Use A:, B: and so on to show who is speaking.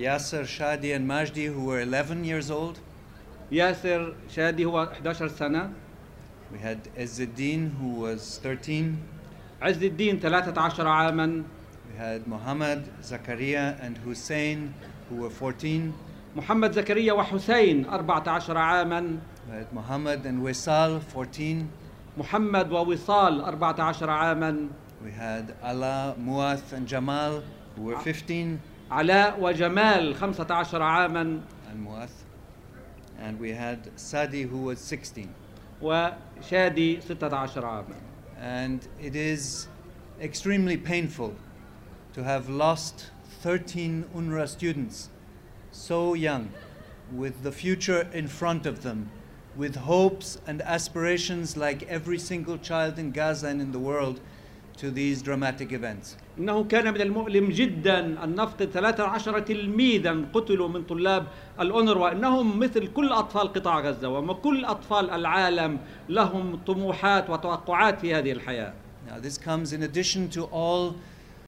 A: Yasser, Shadi, and Majdi, who were 11 years old.
B: ياسر شادي هو 11 سنة
A: We had Izzeddin, who was 13.
B: عز الدين 13 عاما
A: We had Muhammad, Zakaria, and Hussein, who were 14.
B: محمد زكريا وحسين 14 عاما
A: We had Muhammad and Wesal, 14.
B: محمد ووصال 14 عاما
A: We had Ala, Muath, and Jamal, who were 15.
B: علاء وجمال 15 عاما
A: And Muath. And we had Sadi, who was 16.
B: وشادي 16 عاما
A: And it is extremely painful to have lost 13 UNRWA students so young, with the future in front of them, with hopes and aspirations like every single child in Gaza and in the world to these dramatic events.
B: إنه كان من المؤلم جدا أن نفقد 13 تلميذا قتلوا من طلاب الأونروا إنهم مثل كل أطفال قطاع غزة وكل أطفال العالم لهم طموحات وتوقعات في هذه الحياة
A: Now, this comes in addition to all